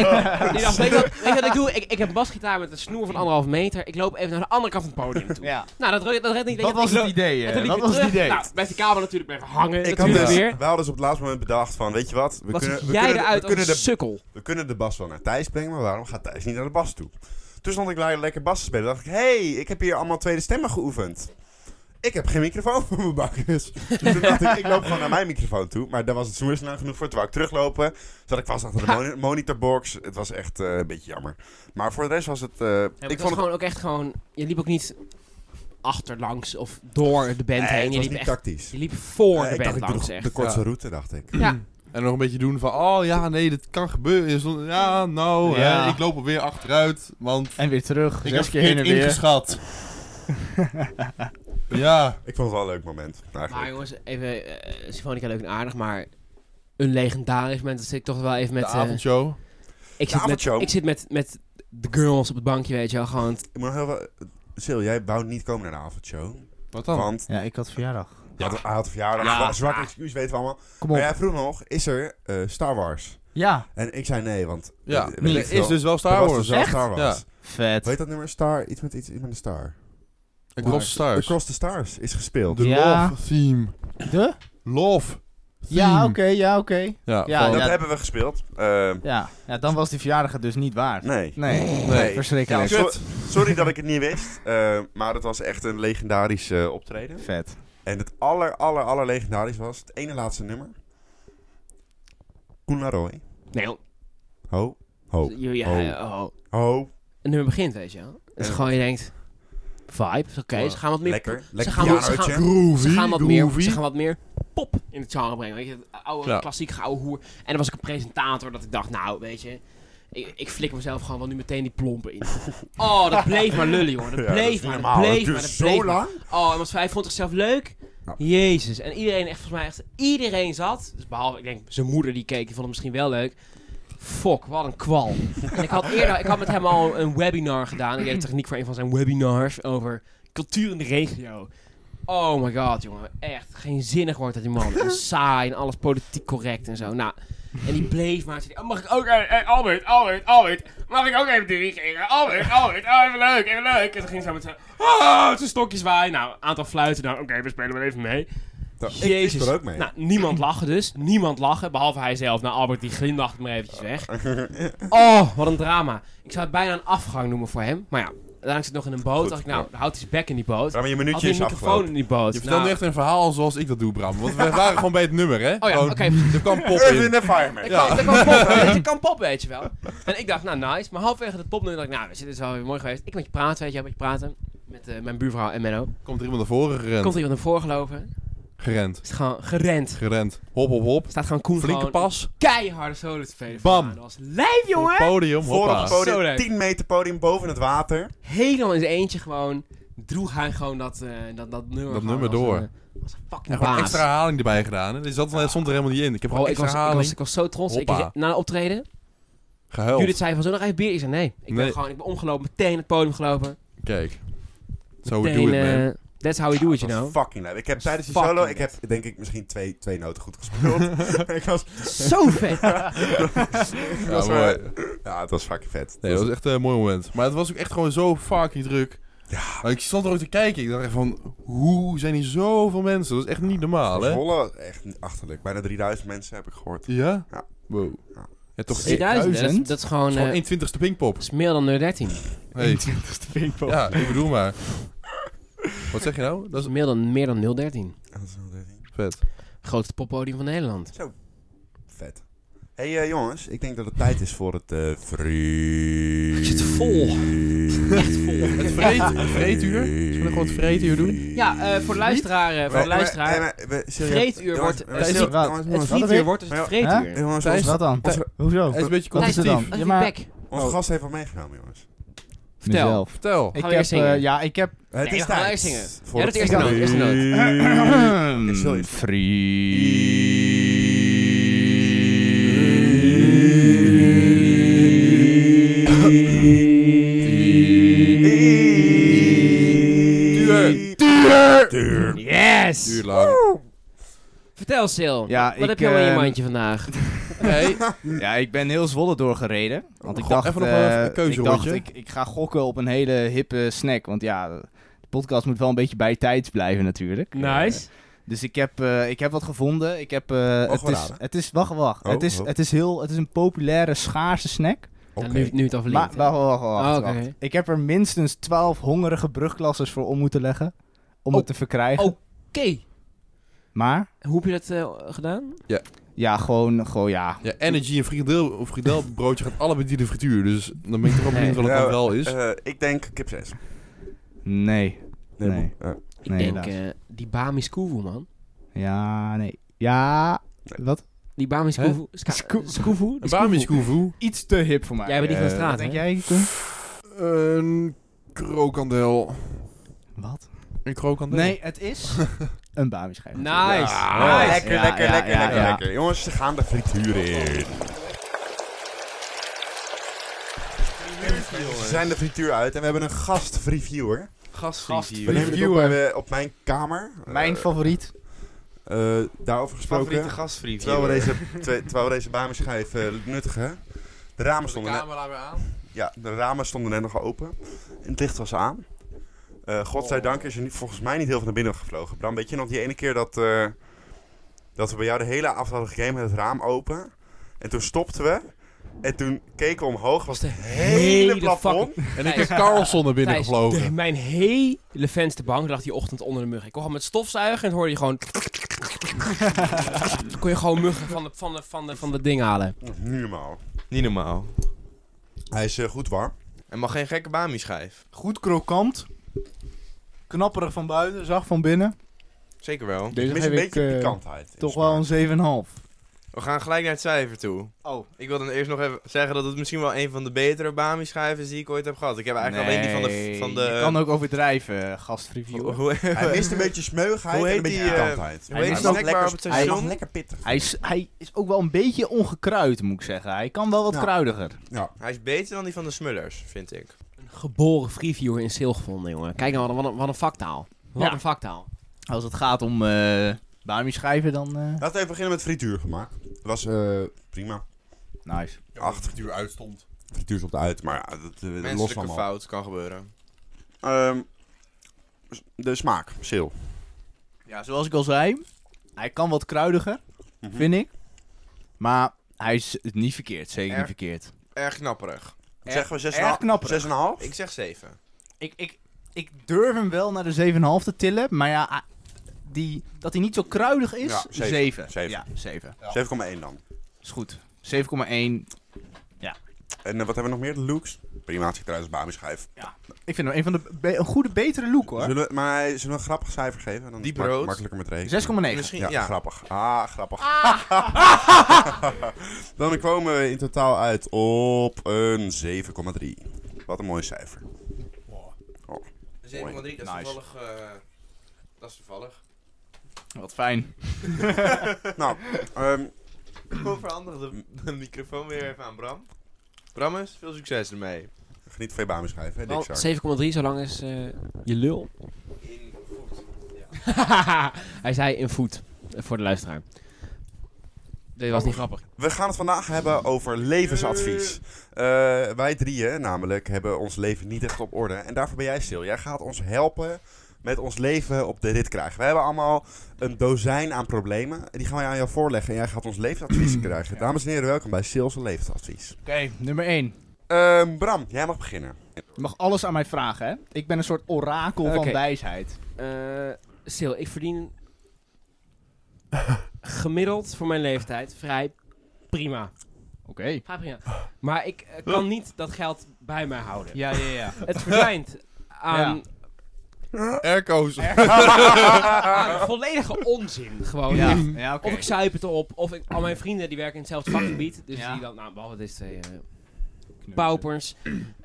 C: die dacht, weet, je wat, weet je wat ik doe? Ik, ik heb basgitaar met een snoer van anderhalf meter. Ik loop even naar de andere kant van het podium toe.
B: Ja.
C: Nou, dat, red- dat redt niet.
B: Dat
C: Ik-
B: was
C: ik
B: het
C: loop-
B: idee,
C: en
B: eh,
C: toen liep
B: dat
C: ik
B: was het
C: terug.
B: idee.
C: Nou, blijft die kabel natuurlijk blijven hangen.
A: Ik had
C: natuurlijk
A: dus,
C: weer.
A: we hadden dus op het laatste moment bedacht van, weet je wat? We
C: Wat
A: kunnen,
C: ziet
A: we,
C: jij
A: kunnen, de-
C: eruit
A: we,
C: als een
A: kunnen de,
C: sukkel?
A: we kunnen de bas wel naar Thijs brengen, maar waarom gaat Thijs niet naar de bas toe? Toen stond ik le- lekker bas te spelen. dacht ik, hey, ik heb hier allemaal tweede stemmen geoefend. Ik heb geen microfoon voor mijn bakjes. Dus toen dacht ik, ik loop gewoon naar mijn microfoon toe. Maar daar was het snoer lang genoeg voor. Toen wou ik teruglopen. Zat ik vast achter de moni- monitorbox. Het was echt eh, een beetje jammer. Maar voor de rest was het... eh, ik
C: Ja, ik was
A: vond het,
C: gewoon ook echt gewoon. Je liep ook niet achterlangs of door de band
A: Nee,
C: heen.
A: het
C: Je
A: was
C: liep,
A: niet
C: echt,
A: tactisch.
C: je liep voor
A: Eh,
C: de
A: ik dacht, ik
C: band
A: doe
C: langs.
A: de-
C: Echt.
A: de kortste route, dacht ik.
C: Ja.
E: En nog een beetje doen van, oh ja, nee, dit kan gebeuren. Je stond- Ja, nou,
B: Ja.
E: Hè, ik loop er weer achteruit, want
B: En weer terug.
E: ik heb
B: Zes keer heen
E: verkeerd
B: en weer.
E: ingeschat. ja.
A: Ik vond het wel een leuk moment.
C: Maar
A: Eigenlijk.
C: jongens, even. eh Symfonica leuk en aardig, maar. Een legendarisch moment. Dat zit ik toch wel even met.
E: de
C: eh,
E: avondshow.
A: De
C: ik, zit met
A: avondshow.
C: ik zit met, met de girls op het bankje, weet je wel. Gewoon.
A: Ik moet nog heel veel... Sil, jij wou niet komen naar de avondshow.
E: Wat dan?
A: Want
B: Ja, ik had verjaardag.
A: je had, hij had verjaardag,
E: Ja.
A: zwa- zwak excuus weten we allemaal.
B: Kom
A: Maar
B: op.
A: jij vroeg nog, is er eh, Star Wars?
B: Ja.
A: En ik zei nee, want...
E: ja,
A: eh, weet
E: er
A: ik veel.
E: is dus wel
A: Er
E: Star
A: was
E: Wars.
A: dus wel Star Wars.
E: Ja.
A: Hoe heet
B: Vet.
A: dat nummer? Star, iets met iets, iets met een star.
E: Across the Stars.
A: Across the Stars is gespeeld.
C: Dus-
E: De
B: Ja.
E: love theme.
B: De?
E: Love theme.
B: Ja, oké, ja, oké.
E: Ja,
B: Ja,
E: van-
A: dat
B: ja.
A: hebben we gespeeld. Eh,
B: Ja. ja, dan was die verjaardag het dus niet waard.
A: nee.
B: Nee,
E: Nee.
B: verschrikkelijk.
A: Ja, zo- sorry dat ik het niet wist, eh, maar het was echt een legendarisch eh, optreden.
B: Vet.
A: En het aller, aller, aller legendarisch was het ene laatste nummer. Koen Laroy.
C: Nee, joh.
A: Ho, ho,
C: Je- ja,
A: Oh.
C: ja, oh.
A: ho.
C: En nu begint, weet je wel. En
A: Ja.
C: gewoon je denkt. Vibe, is oké.
E: Wow.
C: Ze gaan wat meer.
A: Lekker,
C: Ze
A: lekker
C: gaan, wat- ze,
A: pianootje.
C: gaan,
E: Groovy,
C: ze gaan wat meer,
E: groovy.
C: ze gaan wat meer pop in het genre brengen. Weet je, dat oude,
E: Ja.
C: klassiek gouden hoer. En dan was ik een presentator dat ik dacht, nou, weet je... Ik, ik flik mezelf gewoon wel nu meteen die plompen in. Oh, dat bleef maar lullen, hoor. Dat
A: Ja, dat is
C: bleef
A: niet
C: maar, dat
A: normaal. Dat
C: bleef
A: duurt
C: maar, dat
A: zo
C: bleef maar.
A: lang.
C: Oh, en wat hij vond zichzelf leuk.
A: Ja.
C: Jezus. En iedereen, echt volgens mij, echt iedereen zat. Dus behalve, ik denk, zijn moeder die keek, die vond het misschien wel leuk. Fuck, wat een kwal. en ik had eerder, ik had met hem al een webinar gedaan. Ik deed de techniek voor een van zijn webinars over cultuur in de regio. Oh my god, jongen. Echt, geen zinnig woord uit die man. En saai en alles politiek correct en zo. Nou, en die bleef maar. zitten. Oh, mag ik ook... eh, eh, Albert, Albert, Albert. Mag ik ook even dirigeren? Albert, Albert. Oh, even leuk, even leuk. En toen ging ze zo met zijn... Oh, zijn stokjes waaien. Nou, een aantal fluiten. Nou, oké, we spelen wel even mee.
A: Nou, ik- Ik,
C: Jezus.
A: doe er ook mee.
C: Nou, niemand lachen dus. Niemand lachen, behalve hij zelf. Nou, Albert, die glimlacht maar eventjes weg. Oh, wat een drama. Ik zou het bijna een afgang noemen voor hem. Maar ja, daarna zit nog in een boot.
A: Goed,
C: dacht ik, nou,
A: ja.
C: houdt hij zijn bek in die boot.
A: Ja, maar je
C: Had
A: minuutje
C: hij
A: is
C: een microfoon
A: afgelopen.
C: in die boot.
E: Je vertelt
C: Nou,
E: nu echt een verhaal zoals ik dat doe, Bram. Want we waren gewoon bij het nummer, hè?
C: Oh ja,
E: Gewoon,
C: oké. precies.
E: Er kwam pop
A: Earth
E: in.
A: in the Fireman.
C: Ik
E: Ja.
C: kan, ik kan poppen, ik kan poppen, weet je wel. En ik dacht, nou nice. Maar halverwege het popnummer dacht ik, nou, dit is wel weer mooi geweest. Ik met je praten, weet je wel, met je praten. Met eh, mijn buurvrouw en Menno.
E: Komt er iemand naar voren gerend?
C: Komt er iemand naar voren gelopen.
E: Gerend.
C: Is gewoon gerend.
E: Gerend. Hop, hop, hop.
C: Staat gewoon Koen
E: Flinke
C: gewoon
E: pas.
C: keiharde solo te spelen.
E: Bam.
C: Dat was lijf,
E: Op
C: jongen.
E: het podium.
A: Voor op
E: Hoppa.
A: het
C: Zo
A: podium,
C: leuk.
A: 10 meter podium boven het water.
C: Helemaal in zijn eentje gewoon. Droeg hij gewoon dat, eh, dat, dat nummer.
E: Dat
C: gewoon
E: nummer
C: als
E: door.
C: een- Als een
E: En
C: fucking
E: gewoon
C: baas.
E: extra herhaling erbij gedaan. Hè? Die zat, er- stond er helemaal niet in. Ik heb
C: Bro,
E: gewoon
C: ik
E: extra
C: was, ik, was, ik
E: herhaling.
C: was zo trots. Ik,
E: Hoppa.
C: na de optreden,
E: Gehuild.
C: Judith zei van, zo nog even bier? Ik zei, nee. Ik ben
E: Nee.
C: gewoon, ik ben omgelopen, meteen het podium gelopen.
E: Kijk. Zo we
C: meteen,
E: do it, man.
C: eh, That's how we do it, you
A: Dat was
C: know.
A: fucking leuk. Ik heb
C: Dat
A: tijdens die
C: was
A: solo, ik
C: fucking
A: heb denk ik misschien twee, twee noten goed gespeeld. ik was,
C: Zo vet.
A: ik
E: Ja,
A: was wel-
E: mooi.
A: ja, het was fucking vet.
E: Nee, dat was echt eh, een mooi moment. Maar het was ook echt gewoon zo fucking druk. Ja. Ik stond er ook te kijken. Ik dacht echt van, hoe zijn hier zoveel mensen? Dat is echt niet normaal, hè?
A: Zwolle was echt niet achterlijk. Bijna 3000 mensen heb ik gehoord.
E: Ja?
A: Ja.
E: Wow.
A: Ja.
E: Ja, toch
C: 3000, dat is-
B: 1000?
C: dat is gewoon... eh,
E: Gewoon 1 twintigste Pinkpop.
C: dat is meer dan 013.
E: Hey.
B: 20ste Pinkpop.
E: Ja, ik bedoel maar. Wat zeg je nou? Dat
C: Dat
E: is
C: is meer dan, meer dan 013.
E: vet.
C: Grootste poppodium van Nederland.
A: Vet. hey, eh, jongens, ik denk dat het tijd is voor het eh vree...
C: Het zit vol.
E: Het vreet- het vreetuur? Zullen we gewoon het vreetuur doen?
C: Ja, eh, voor de luisteraar. eh, voor de luisteraar. Vreetuur wordt-
B: tijdens- wat?
C: het
B: wat
C: frietuur
B: weer?
C: wordt dus
A: Maar
C: het
A: ja,
C: vreetuur.
A: Jongens,
E: Thijs-
A: onze,
B: Wat dan?
E: Thijs- eh,
B: Hoezo?
E: Hij is een beetje
B: Wat is
C: Thijs,
B: het dan?
E: competitief.
B: Ja,
C: als je
B: maar-
C: bek.
A: onze
B: Oh.
A: gast heeft al meegenomen, jongens.
C: Vertel.
B: Mezelf.
E: Vertel.
B: Ik
C: Gaan
B: heb,
C: we eerst zingen?
B: eh, ja, ik heb...
A: Het
C: Nee,
A: is
C: we gaan
A: tijd.
C: live zingen.
A: Voor
C: Ja,
A: het
C: dat eerste noot, eerste noot.
B: ehm,
A: Ik zal je-
E: Duur.
A: Duur.
C: Yes!
E: Duur lang.
C: Vertel, Sil.
B: Ja,
C: wat
B: ik,
C: heb je allemaal in je
B: ehm,
C: mandje vandaag?
E: Nee.
B: Ja, ik ben heel Zwolle doorgereden. Want ik
E: Goh,
B: dacht,
E: even nog
B: eh,
E: wel even een
B: ik, dacht
E: keuzerondje.
B: ik, ik ga gokken op een hele hippe snack. Want ja, de podcast moet wel een beetje bij tijd blijven natuurlijk.
C: Nice.
B: Eh, dus ik heb, eh, ik heb wat gevonden. Ik heb, eh, het,
A: we
B: is,
A: raden?
B: het is, wacht, wacht.
A: Oh,
B: het, is,
A: oh.
B: het is heel, het is een populaire schaarse snack.
C: Ja, nu, nu het over
B: Maar
C: Lindt.
B: wacht, wacht, wacht, wacht.
C: Oh, oké.
B: Ik heb er minstens 12 hongerige brugklassers voor om moeten leggen. Om
C: Oh.
B: het te verkrijgen.
C: Oh. Oké.
B: Maar,
C: Hoe heb je dat eh, gedaan?
B: ja, gewoon, gewoon ja.
E: Ja, energy en frikandel, of frikandelbroodje gaat allebei die de frituur. Dus dan ben ik toch wel benieuwd wat het dan wel is.
A: Eh, ik denk kip 6.
B: Nee. Nee.
A: man. Eh,
C: Ik
B: Nee,
C: denk,
B: helaas.
C: eh, die Bamis Koevoe, man.
B: Ja, nee. Ja, wat?
C: Die Bamis
E: Hè?
C: Koevoe. Ska-
B: Skoe-
C: Skoevoe?
E: Een
C: Die
E: Bami's
C: Skoevoe.
E: koevoe.
B: iets te hip voor mij.
C: Jij bent die van de
E: Eh,
C: straat,
B: Wat denk
C: hè?
B: jij, Koen?
E: Een krokandel.
B: Wat?
E: Een krokandel?
B: Nee, het is een bamischijf.
C: Nice.
A: Ah,
C: nice.
A: Lekker,
B: Ja,
A: lekker,
B: ja,
A: lekker,
B: ja,
A: lekker,
B: ja.
A: lekker. Jongens, ze gaan de frituur in. We zijn de frituur uit en we hebben een gast-reviewer. We nemen dit op,
E: Reviewer.
A: eh, op mijn kamer.
B: Mijn
A: Eh,
B: favoriet.
A: eh, daarover gesproken.
F: Favoriete gastvriend.
A: Terwijl we deze, te- terwijl we deze bameschijf eh, nuttigen. De ramen stonden net,
F: aan.
A: ja, de ramen stonden net nog open. En het licht was aan. Eh godzijdank is er niet, volgens mij niet heel veel naar binnen gevlogen. Bram, weet je nog die ene keer dat, eh, dat we bij jou de hele avond hadden gegamed met het raam open? En toen stopten we. En toen keken we omhoog. Was het hele
C: hele
A: plafond.
E: En ik
C: Thijs.
E: heb Carlson naar binnen
C: Thijs, de-
E: gevlogen.
C: mijn hele vensterbank lag die ochtend onder de muggen. Ik kon gewoon met stofzuigen en dan hoorde je gewoon... kon je gewoon muggen van de, van de, van de, van de ding halen.
A: Nu normaal.
F: Niet normaal.
A: Hij is eh, goed warm.
F: En mag geen gekke Bami schijf.
B: Goed krokant. Knapperig van buiten, zacht van binnen.
F: Zeker wel.
A: Ik
B: Deze
A: mis
B: heb
A: een
B: ik
A: beetje
B: eh,
A: pikantheid. in
B: toch
A: smaak.
B: wel een 7,5.
F: We gaan gelijk naar het cijfer toe.
B: Oh.
F: Ik wil dan eerst nog even zeggen dat het misschien wel een van de betere Bami schijven is die ik ooit heb gehad. Ik heb eigenlijk alleen die van de... Van de Oh,
B: Je kan ook overdrijven, eh, gastreviewer.
F: hoe,
A: Hij mist een beetje smeugheid
F: Hoe
A: en
F: heet
A: een beetje
F: die, eh,
A: pikantheid.
F: hoe heet die
B: mag
F: snackbar
A: lekker-
F: op het
B: hij
A: Hij mag
F: station?
A: lekker pittig.
B: Hij is, hij is ook wel een beetje ongekruid, moet ik zeggen. Hij kan wel wat
A: Ja.
B: kruidiger.
F: Hij is beter dan die van de Smullers, vind ik.
C: Een geboren freeviewer in Sil gevonden, jongen. Kijk nou, wat een, wat een, wat een vaktaal. Wat
B: Ja.
C: een vaktaal.
B: Als het gaat om eh bamischijven, dan... eh,
A: Laten we even beginnen met frituur gemaakt. Dat was eh, prima.
B: nice.
A: Acht
E: frituur uitstond.
A: frituur stond uit, maar ja, dat eh, los
F: Menselijke
A: van al.
F: fout kan gebeuren.
A: Ehm, s- de smaak, sil.
B: Ja, zoals ik al zei, hij kan wat kruidiger,
A: Mhm.
B: vind ik. Maar hij is niet verkeerd, zeker
F: Er-
B: niet verkeerd.
F: Erg knapperig.
A: Zeggen we zes en
B: erg
A: half-
B: knapperig.
A: zes en een half?
F: Eh, Ik zeg 7.
B: Ik, ik, ik durf hem wel naar de 7,5 te tillen, maar ja, ah, die, dat hij niet zo kruidig is,
A: Ja,
B: 7.
A: zeven. Zeven.
B: Ja, 7.
A: 7,1 dan.
B: Is goed. 7,1.
A: En eh, wat hebben we nog meer? De looks? Prima, het ziet eruit als Bami-schijf.
B: Ik vind hem een van de be- een goede, betere look hoor.
A: Zullen we, maar hij- zullen we een grappig cijfer geven? Dan is
F: Diep
A: het mak-
F: rood.
A: makkelijker met rekenen.
B: 6,9.
F: Misschien,
A: Ja,
F: ja. Ah.
A: grappig. Ah, grappig. dan komen we in totaal uit op een 7,3. Wat een mooi cijfer.
F: 7,3, dat is
B: Nice.
F: toevallig... eh, dat is toevallig.
B: Wat fijn.
A: nou, ehm,
F: Hoe verander de, de microfoon weer even aan Bram? Brammes, veel succes ermee.
A: geniet van je Bami-schijf, hè,
C: Wel,
A: Dick Shark.
C: 7,3 zo lang is eh, je lul.
F: In goed.
C: Hij zei in voet. eh, Voor de luisteraar. Dit was niet grappig.
A: We gaan het vandaag hebben over levensadvies. Eh, wij drieën namelijk hebben ons leven niet echt op orde. En daarvoor ben jij stil. Jij gaat ons helpen met ons leven op de rit krijgen. We hebben allemaal een dozijn aan problemen. En die gaan wij aan jou voorleggen. En jij gaat ons levensadvies krijgen. Dames en heren, welkom bij Sales en Levensadvies.
B: nummer 1.
A: Ehm, Bram, jij mag beginnen.
B: Je mag alles aan mij vragen, hè? Ik ben een soort orakel
C: Oké.
B: van wijsheid.
C: Eh stil, ik verdien gemiddeld voor mijn leeftijd vrij prima.
B: Oké.
C: Vrij prima. Maar ik eh, kan niet dat geld bij mij houden.
B: Ja, ja, ja.
C: Het verdwijnt aan,
E: Airco's.
C: aan volledige onzin gewoon.
B: Oh, ja,
C: Echt.
B: ja oké.
C: Of ik zuip het op, of ik, al mijn vrienden die werken in hetzelfde vakgebied. Dus
B: Ja.
C: die dan, nou, behalve deze twee eh, paupers.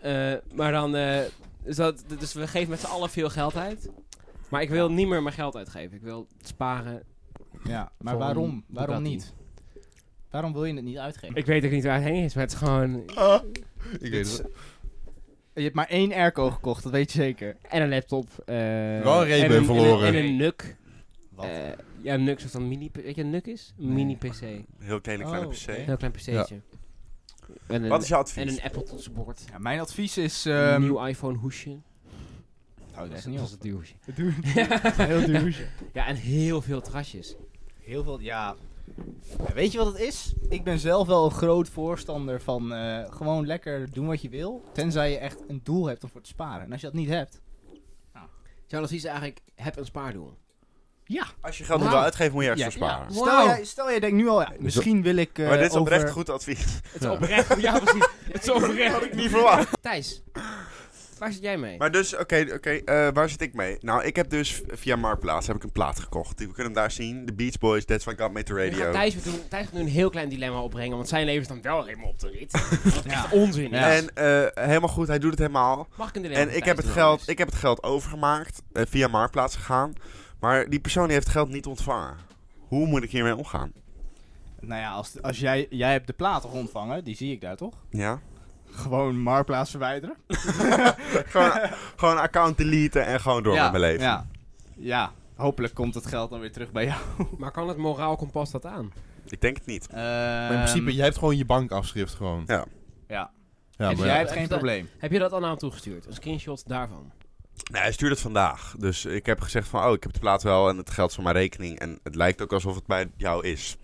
C: Eh, maar dan, eh, dus, dat, dus we geven met z'n allen veel geld uit. Maar ik wil niet meer mijn geld uitgeven. Ik wil sparen.
B: Ja, maar
C: Voor
B: waarom?
C: een
B: Waarom
C: Bugatti.
B: niet? Waarom wil je het niet uitgeven?
C: Ik weet ook niet waar het heen is, maar het is gewoon
E: Ik weet het.
B: Je hebt maar één airco gekocht, dat weet je zeker.
C: En een laptop. eh,
E: Wel een Ray-Ban
C: en
E: verloren.
C: En een, en een NUC.
B: Wat?
C: Eh, ja, een NUC is dan mini... Weet je, een NUC is? Een mini-PC. Een
A: Heel kleine, kleine
B: Oh,
A: PC.
B: oké.
C: heel klein PC'tje. En een,
A: Wat is je
C: en
A: advies?
C: een Apple toetsenbord.
B: Ja, mijn advies is...
C: een
B: ehm
C: nieuw iPhone hoesje.
B: Nou, dat is niet
C: Dat
B: op.
C: is het duur hoesje.
B: Heel duur.
C: Ja, en heel veel terrasjes.
B: Heel veel, ja. Ja, Weet je wat het is? Ik ben zelf wel een groot voorstander van eh, gewoon lekker doen wat je wil. Tenzij je echt een doel hebt om voor te sparen. En als je dat niet hebt.
C: Jouw advies is eigenlijk, heb een spaardoel.
A: Als je geld
C: Nou.
A: moet uitgeven, moet je ergens
B: Ja,
A: voor sparen.
C: Wauw.
B: Stel, jij, stel jij denkt nu al, ja, misschien wil ik. eh,
A: maar dit is oprecht
B: over-
A: goed advies.
C: Het is oprecht. Ja, precies. Het is
A: Had
C: oprecht.
A: ik niet verwacht.
C: Thijs, waar zit jij mee?
A: Maar dus, oké, oké, eh, waar zit ik mee? Nou, ik heb dus via Marktplaats heb ik een plaat gekocht. We kunnen hem daar zien. De Beach Boys, That's Why I Got Me To
C: We gaan
A: Radio.
C: Thijs, weer doen, Thijs gaat nu een heel klein dilemma opbrengen, want zijn leven is dan wel helemaal op de rit. Dat is
B: Ja.
C: echt onzin.
B: Ja.
C: is.
A: En eh, helemaal goed, hij doet het helemaal.
C: Mag ik een dilemma
A: En
C: van
A: ik heb,
C: Thijs
A: het
C: doen
A: geld,
C: anders?
A: ik heb het geld overgemaakt, eh, via Marktplaats gegaan. Maar die persoon die heeft het geld niet ontvangen. Hoe moet ik hiermee omgaan?
B: Nou ja, als, als jij, jij hebt de plaat toch ontvangen, die zie ik daar toch?
A: Ja?
B: Gewoon marktplaats verwijderen.
A: gewoon, gewoon account deleten en gewoon door met mijn leven.
B: Ja. ja, hopelijk komt het geld dan weer terug bij jou.
C: Maar kan het moraal kompas dat aan?
A: Ik denk het niet.
E: Maar
B: Eh,
E: in
B: ehm,
E: principe, jij hebt gewoon je bankafschrift gewoon.
A: Ja.
B: Ja.
E: Ja,
C: Dus
E: maar
B: jij
E: ja.
B: hebt geen probleem.
C: Heb je dat al aan hem toegestuurd? Een screenshot daarvan?
A: Nee, hij stuurde het vandaag. Dus ik heb gezegd van, oh, ik heb de plaat wel en het geld is van mijn rekening. En het lijkt ook alsof het bij jou is.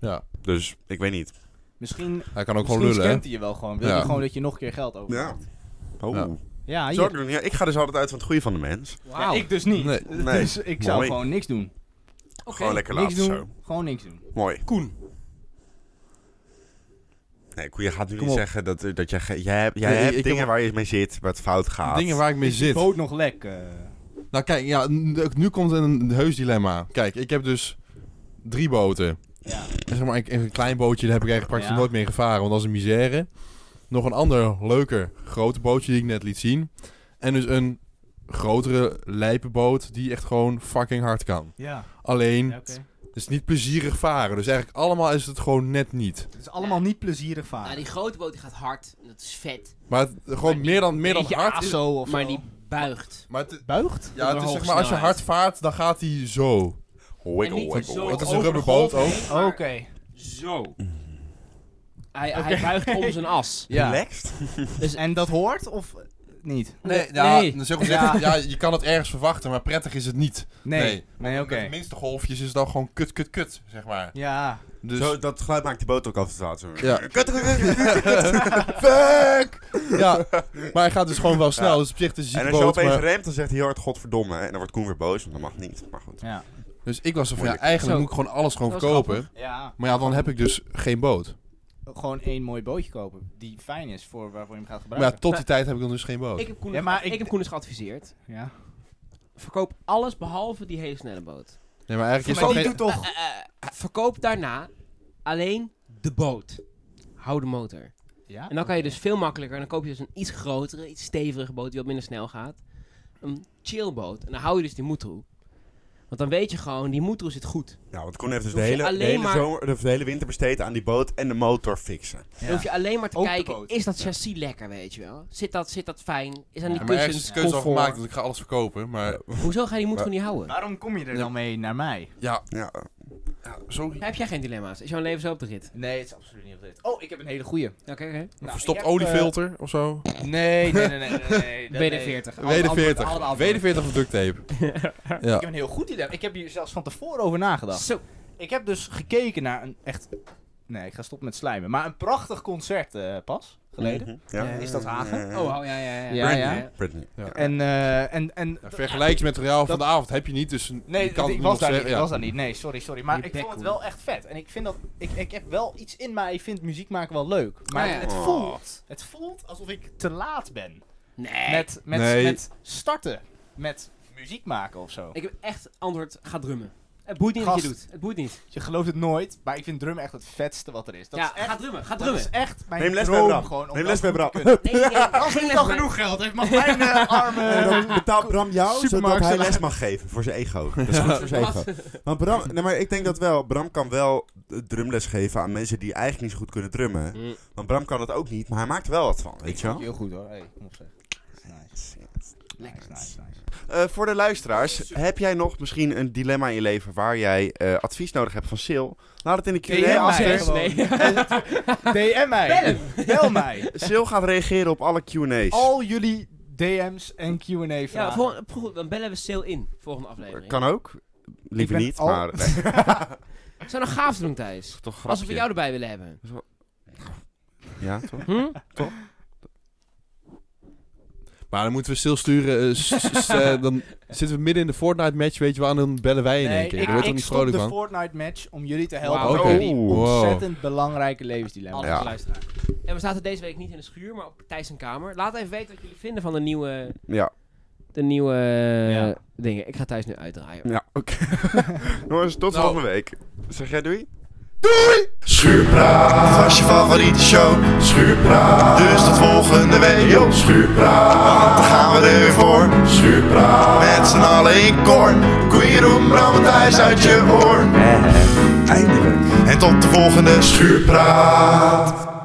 E: Ja.
A: Dus ik weet niet.
B: Misschien,
E: Hij kan ook
B: misschien
E: gewoon lullen, hè?
B: scant hij je wel gewoon. Wil
E: Ja.
B: je gewoon dat je nog een keer geld over
A: Ja. Oh.
E: Ja.
A: Zou
B: Ja, hier.
A: ik doen? Ja, ik ga dus altijd uit van het goede van de mens.
B: Ja, ik dus niet.
E: Nee.
A: Nee.
B: Dus ik zou
A: Mooi.
B: gewoon niks doen.
C: Oké.
A: Gewoon lekker
B: niks
A: laten
B: doen.
A: zo.
B: Gewoon niks doen.
A: Mooi.
C: Koen.
A: Nee, Koen, je gaat nu
E: Kom
A: niet
E: op.
A: zeggen dat, eh, dat jij, ge- jij, hebt- jij
E: Nee,
A: hebt
E: ik- ik
A: dingen
E: heb-
A: waar je mee zit, wat fout gaat.
E: Dingen waar ik mee
B: Ik
E: zit.
B: boot nog lek. eh.
E: Nou kijk, ja, n- nu komt een heus dilemma. Kijk, ik heb dus drie boten.
B: ja.
E: En zeg maar, ik- een klein bootje, daar heb ik eigenlijk praktisch
B: Ja.
E: nooit mee gevaren, want dat is een misère. Nog een ander leuker, grote bootje die ik net liet zien. En dus een grotere lijpenboot die echt gewoon fucking hard kan.
B: Ja,
E: Alleen,
B: oké.
E: het is niet plezierig varen. Dus eigenlijk allemaal is het gewoon net niet.
B: Het is allemaal niet plezierig
C: Nou,
B: varen.
C: die grote boot die gaat hard. en Dat is vet.
E: Maar het- gewoon meer dan, meer dan
C: Beetje
E: hard. Is,
B: zo of
C: maar
B: zo.
C: die buigt.
E: maar het,
B: buigt?
E: ja, het is
C: hoge
E: zeg maar, als je
C: snelheid.
E: hard vaart, dan gaat hij zo.
C: En
A: Wiggle,
C: niet
A: wiggle,
C: zo
E: Het is een
C: over de
E: rubberboot
C: golf
E: ook.
C: heen,
B: Oké.
C: maar Zo. Hij, hij buigt om zijn as.
B: Ja. Dus-
A: Relaxed?
B: En dat hoort of eh, niet?
E: Nee, ja,
C: ja,
E: nee.
C: Nee.
E: Zeg maar, zeggen, ja, je kan het ergens verwachten, maar prettig is het niet.
B: Nee.
E: Nee.
B: Nee,
E: Met
B: oké.
E: de minste golfjes is het dan gewoon kut, kut, kut, zeg maar.
B: Ja.
E: Dus,
A: Zo, dat geluid maakt die boot ook altijd uit. zo.
E: ja. Fuck! Ja, maar hij gaat dus gewoon wel snel, dus op zich het is een
A: En
E: zieke
A: als je
E: boot.
A: opeens
E: Maar,
A: remt, dan zegt hij heel hard godverdomme. En dan wordt Koen weer boos, want dat mag niet. Maar goed.
B: Ja.
E: dus ik was er van, ja,
A: Moeilijk.
E: eigenlijk
C: Zo.
E: moet ik gewoon alles gewoon
C: Dat was
E: verkopen.
B: Ja.
E: Maar ja, dan heb ik dus geen boot.
B: Gewoon één mooi bootje kopen die fijn is voor waarvoor je hem gaat
E: Maar ja,
B: gebruiken.
E: tot die tijd heb ik dan dus geen boot.
C: Ik heb Koen,
B: Ja, maar
C: ik...
B: ik-
C: heb Koen eens geadviseerd.
B: Ja.
C: Verkoop alles behalve die hele snelle boot.
E: Nee, maar eigenlijk is
B: Maar
E: dat
B: die
E: geen...
B: doet toch...
C: Eh, eh, verkoop daarna alleen de boot. Hou de motor.
B: Ja.
C: En dan kan je dus veel makkelijker. En dan koop je dus een iets grotere, iets stevige boot die wat minder snel gaat. Een chillboot. En dan hou je dus die moed toe. Want dan weet je gewoon, die motor zit goed.
A: Ja, want Koen heeft dus de
C: Hoef je
A: hele, de,
C: alleen
A: hele
C: maar-
A: zomer, of de hele winter besteed aan die boot en de motor fixen.
C: Dan hoef je alleen maar te
B: Ook de
C: kijken,
B: boot.
C: is dat chassis lekker, weet je wel? Zit dat, zit dat fijn? Is aan die
E: Ja, maar ergens is
C: kussens
E: de keuze al
C: comfort?
E: gemaakt dat ik ga alles verkopen. Maar
C: Hoezo ga je die motor
E: Maar-
C: niet houden?
B: Waarom kom je er dan mee naar mij?
E: ja,
A: Ja,
E: ja, sorry.
C: Heb jij geen dilemma's? Is jouw leven zo op de rit?
B: Nee, het is absoluut niet op dit. Oh, ik heb een hele goeie.
C: Oké, oké.
B: Nou,
E: Verstopt
B: ik heb,
E: oliefilter of zo.
B: eh, nee, nee, nee, nee. nee, nee, nee, nee.
C: BD40.
B: Alle antwoorden, alle
E: WD-40.
B: antwoorden.
E: WD-40 of duct tape.
B: Ik heb een heel goed dilemma. Ik heb hier zelfs van tevoren over nagedacht.
C: Zo.
B: Ik heb dus gekeken naar een echt... Nee, ik ga stoppen met slijmen. Maar een prachtig concert eh, pas, geleden.
A: Mhm. Ja.
C: Eh,
B: Is dat Hagen?
A: Eh,
C: Oh, oh, ja, ja, ja.
B: Ja, ja.
A: Britney.
B: En, eh, en, en
E: Ja, vergelijk eens met het verhaal van
B: Dat-
E: de avond heb je niet, dus je
B: Nee,
E: kan
B: ik, was
E: het nog
B: daar niet,
E: zeggen,
B: ik
E: ja.
B: was daar niet. Nee, sorry, sorry. Maar
C: Je
B: ik
C: bek,
B: vond het
C: hoor.
B: wel echt vet. En ik vind dat... Ik, ik heb wel iets in mij. Ik vind muziek maken wel leuk. Maar
C: Ah, ja.
B: het,
A: Oh.
B: voelt, het voelt alsof ik te laat ben.
C: Nee.
B: Met, met,
E: Nee.
B: met starten. Met muziek maken of zo.
C: Ik heb echt antwoord, ga drummen. Het boeit niet wat je
B: Gast.
C: doet. Het boeit niet.
B: je gelooft het nooit, maar ik vind drummen echt het vetste wat er is. Dat
C: ja,
B: is echt,
C: ga drummen, ga
B: dat
C: drummen.
B: is echt mijn
A: Neem les bij
B: droom
A: Bram.
B: gewoon. om
A: Neem
B: dat
A: les bij
B: goed te
A: Bram.
B: kunnen.
C: Nee, nee, nee,
B: Als
C: geen
B: ik
C: les
B: al
C: meer.
B: genoeg geld heeft, mag mijn eh,
A: En
B: arme...
A: dan betaalt Bram jou, zodat
B: Supermarkt
A: hij les
B: salaris.
A: mag geven voor zijn ego. Dat is goed voor zijn ego. Want Bram, nee, maar ik denk dat wel, Bram kan wel eh, drumles geven aan mensen die eigenlijk niet zo goed kunnen drummen.
C: Mm.
A: Want Bram kan dat ook niet, maar hij maakt er wel wat van, weet je wel?
B: Heel goed hoor. Hey, kom op zeg. Nice. Nice, nice, nice.
A: Eh, voor de luisteraars, heb jij nog misschien een dilemma in je leven waar jij eh, advies nodig hebt van Sil? Laat het in de
B: Nee,
A: Q&A
B: helemaal
A: achter.
B: niet.
C: Nee.
B: DM mij. Bel mij.
A: Sil gaat reageren op alle Q&A's.
B: Al jullie DM's en Q&A vragen.
C: Ja, volgende- pro- dan bellen we Sale in, volgende aflevering.
A: Kan ook. Liever
B: ben
A: niet,
B: al-
A: maar... Nee, dat
C: Zou nog gaaf doen, Thijs?
A: is toch een
C: Als we
A: grapje.
C: jou erbij willen hebben.
A: Ja, toch?
C: Hm?
E: Maar dan moeten we stilsturen. eh, s- s- eh, dan zitten we midden in de Fortnite match, weet je wel, en dan bellen wij in één keer.
B: ik,
E: Daar word je
B: ik
E: toch niet
B: stop
E: vrolijk
B: de
E: van?
B: Fortnite match om jullie te helpen.
C: Wauw,
B: met
E: oké.
B: die
A: Oh,
E: Oeh.
B: ontzettend belangrijke levensdilemma.
C: Alle
A: Ja.
C: luisteraars. En we zaten deze week niet in de schuur, maar op Thijs en Kamer. Laat even weten wat jullie vinden van de nieuwe,
A: Ja,
C: de nieuwe
B: Ja.
C: dingen. Ik ga Thijs nu uitdraaien.
A: ja oké. Jongens, tot volgende week. Zeg jij doei?
D: Schuurpraat was je favoriete show. Schuurpraat, dus tot volgende week. Yo, schuurpraat, want dan gaan we er weer voor. Schuurpraat, met z'n allen in koor. Koeien roem, brand thuis uit je oor. eindelijk. En tot de volgende schuurpraat.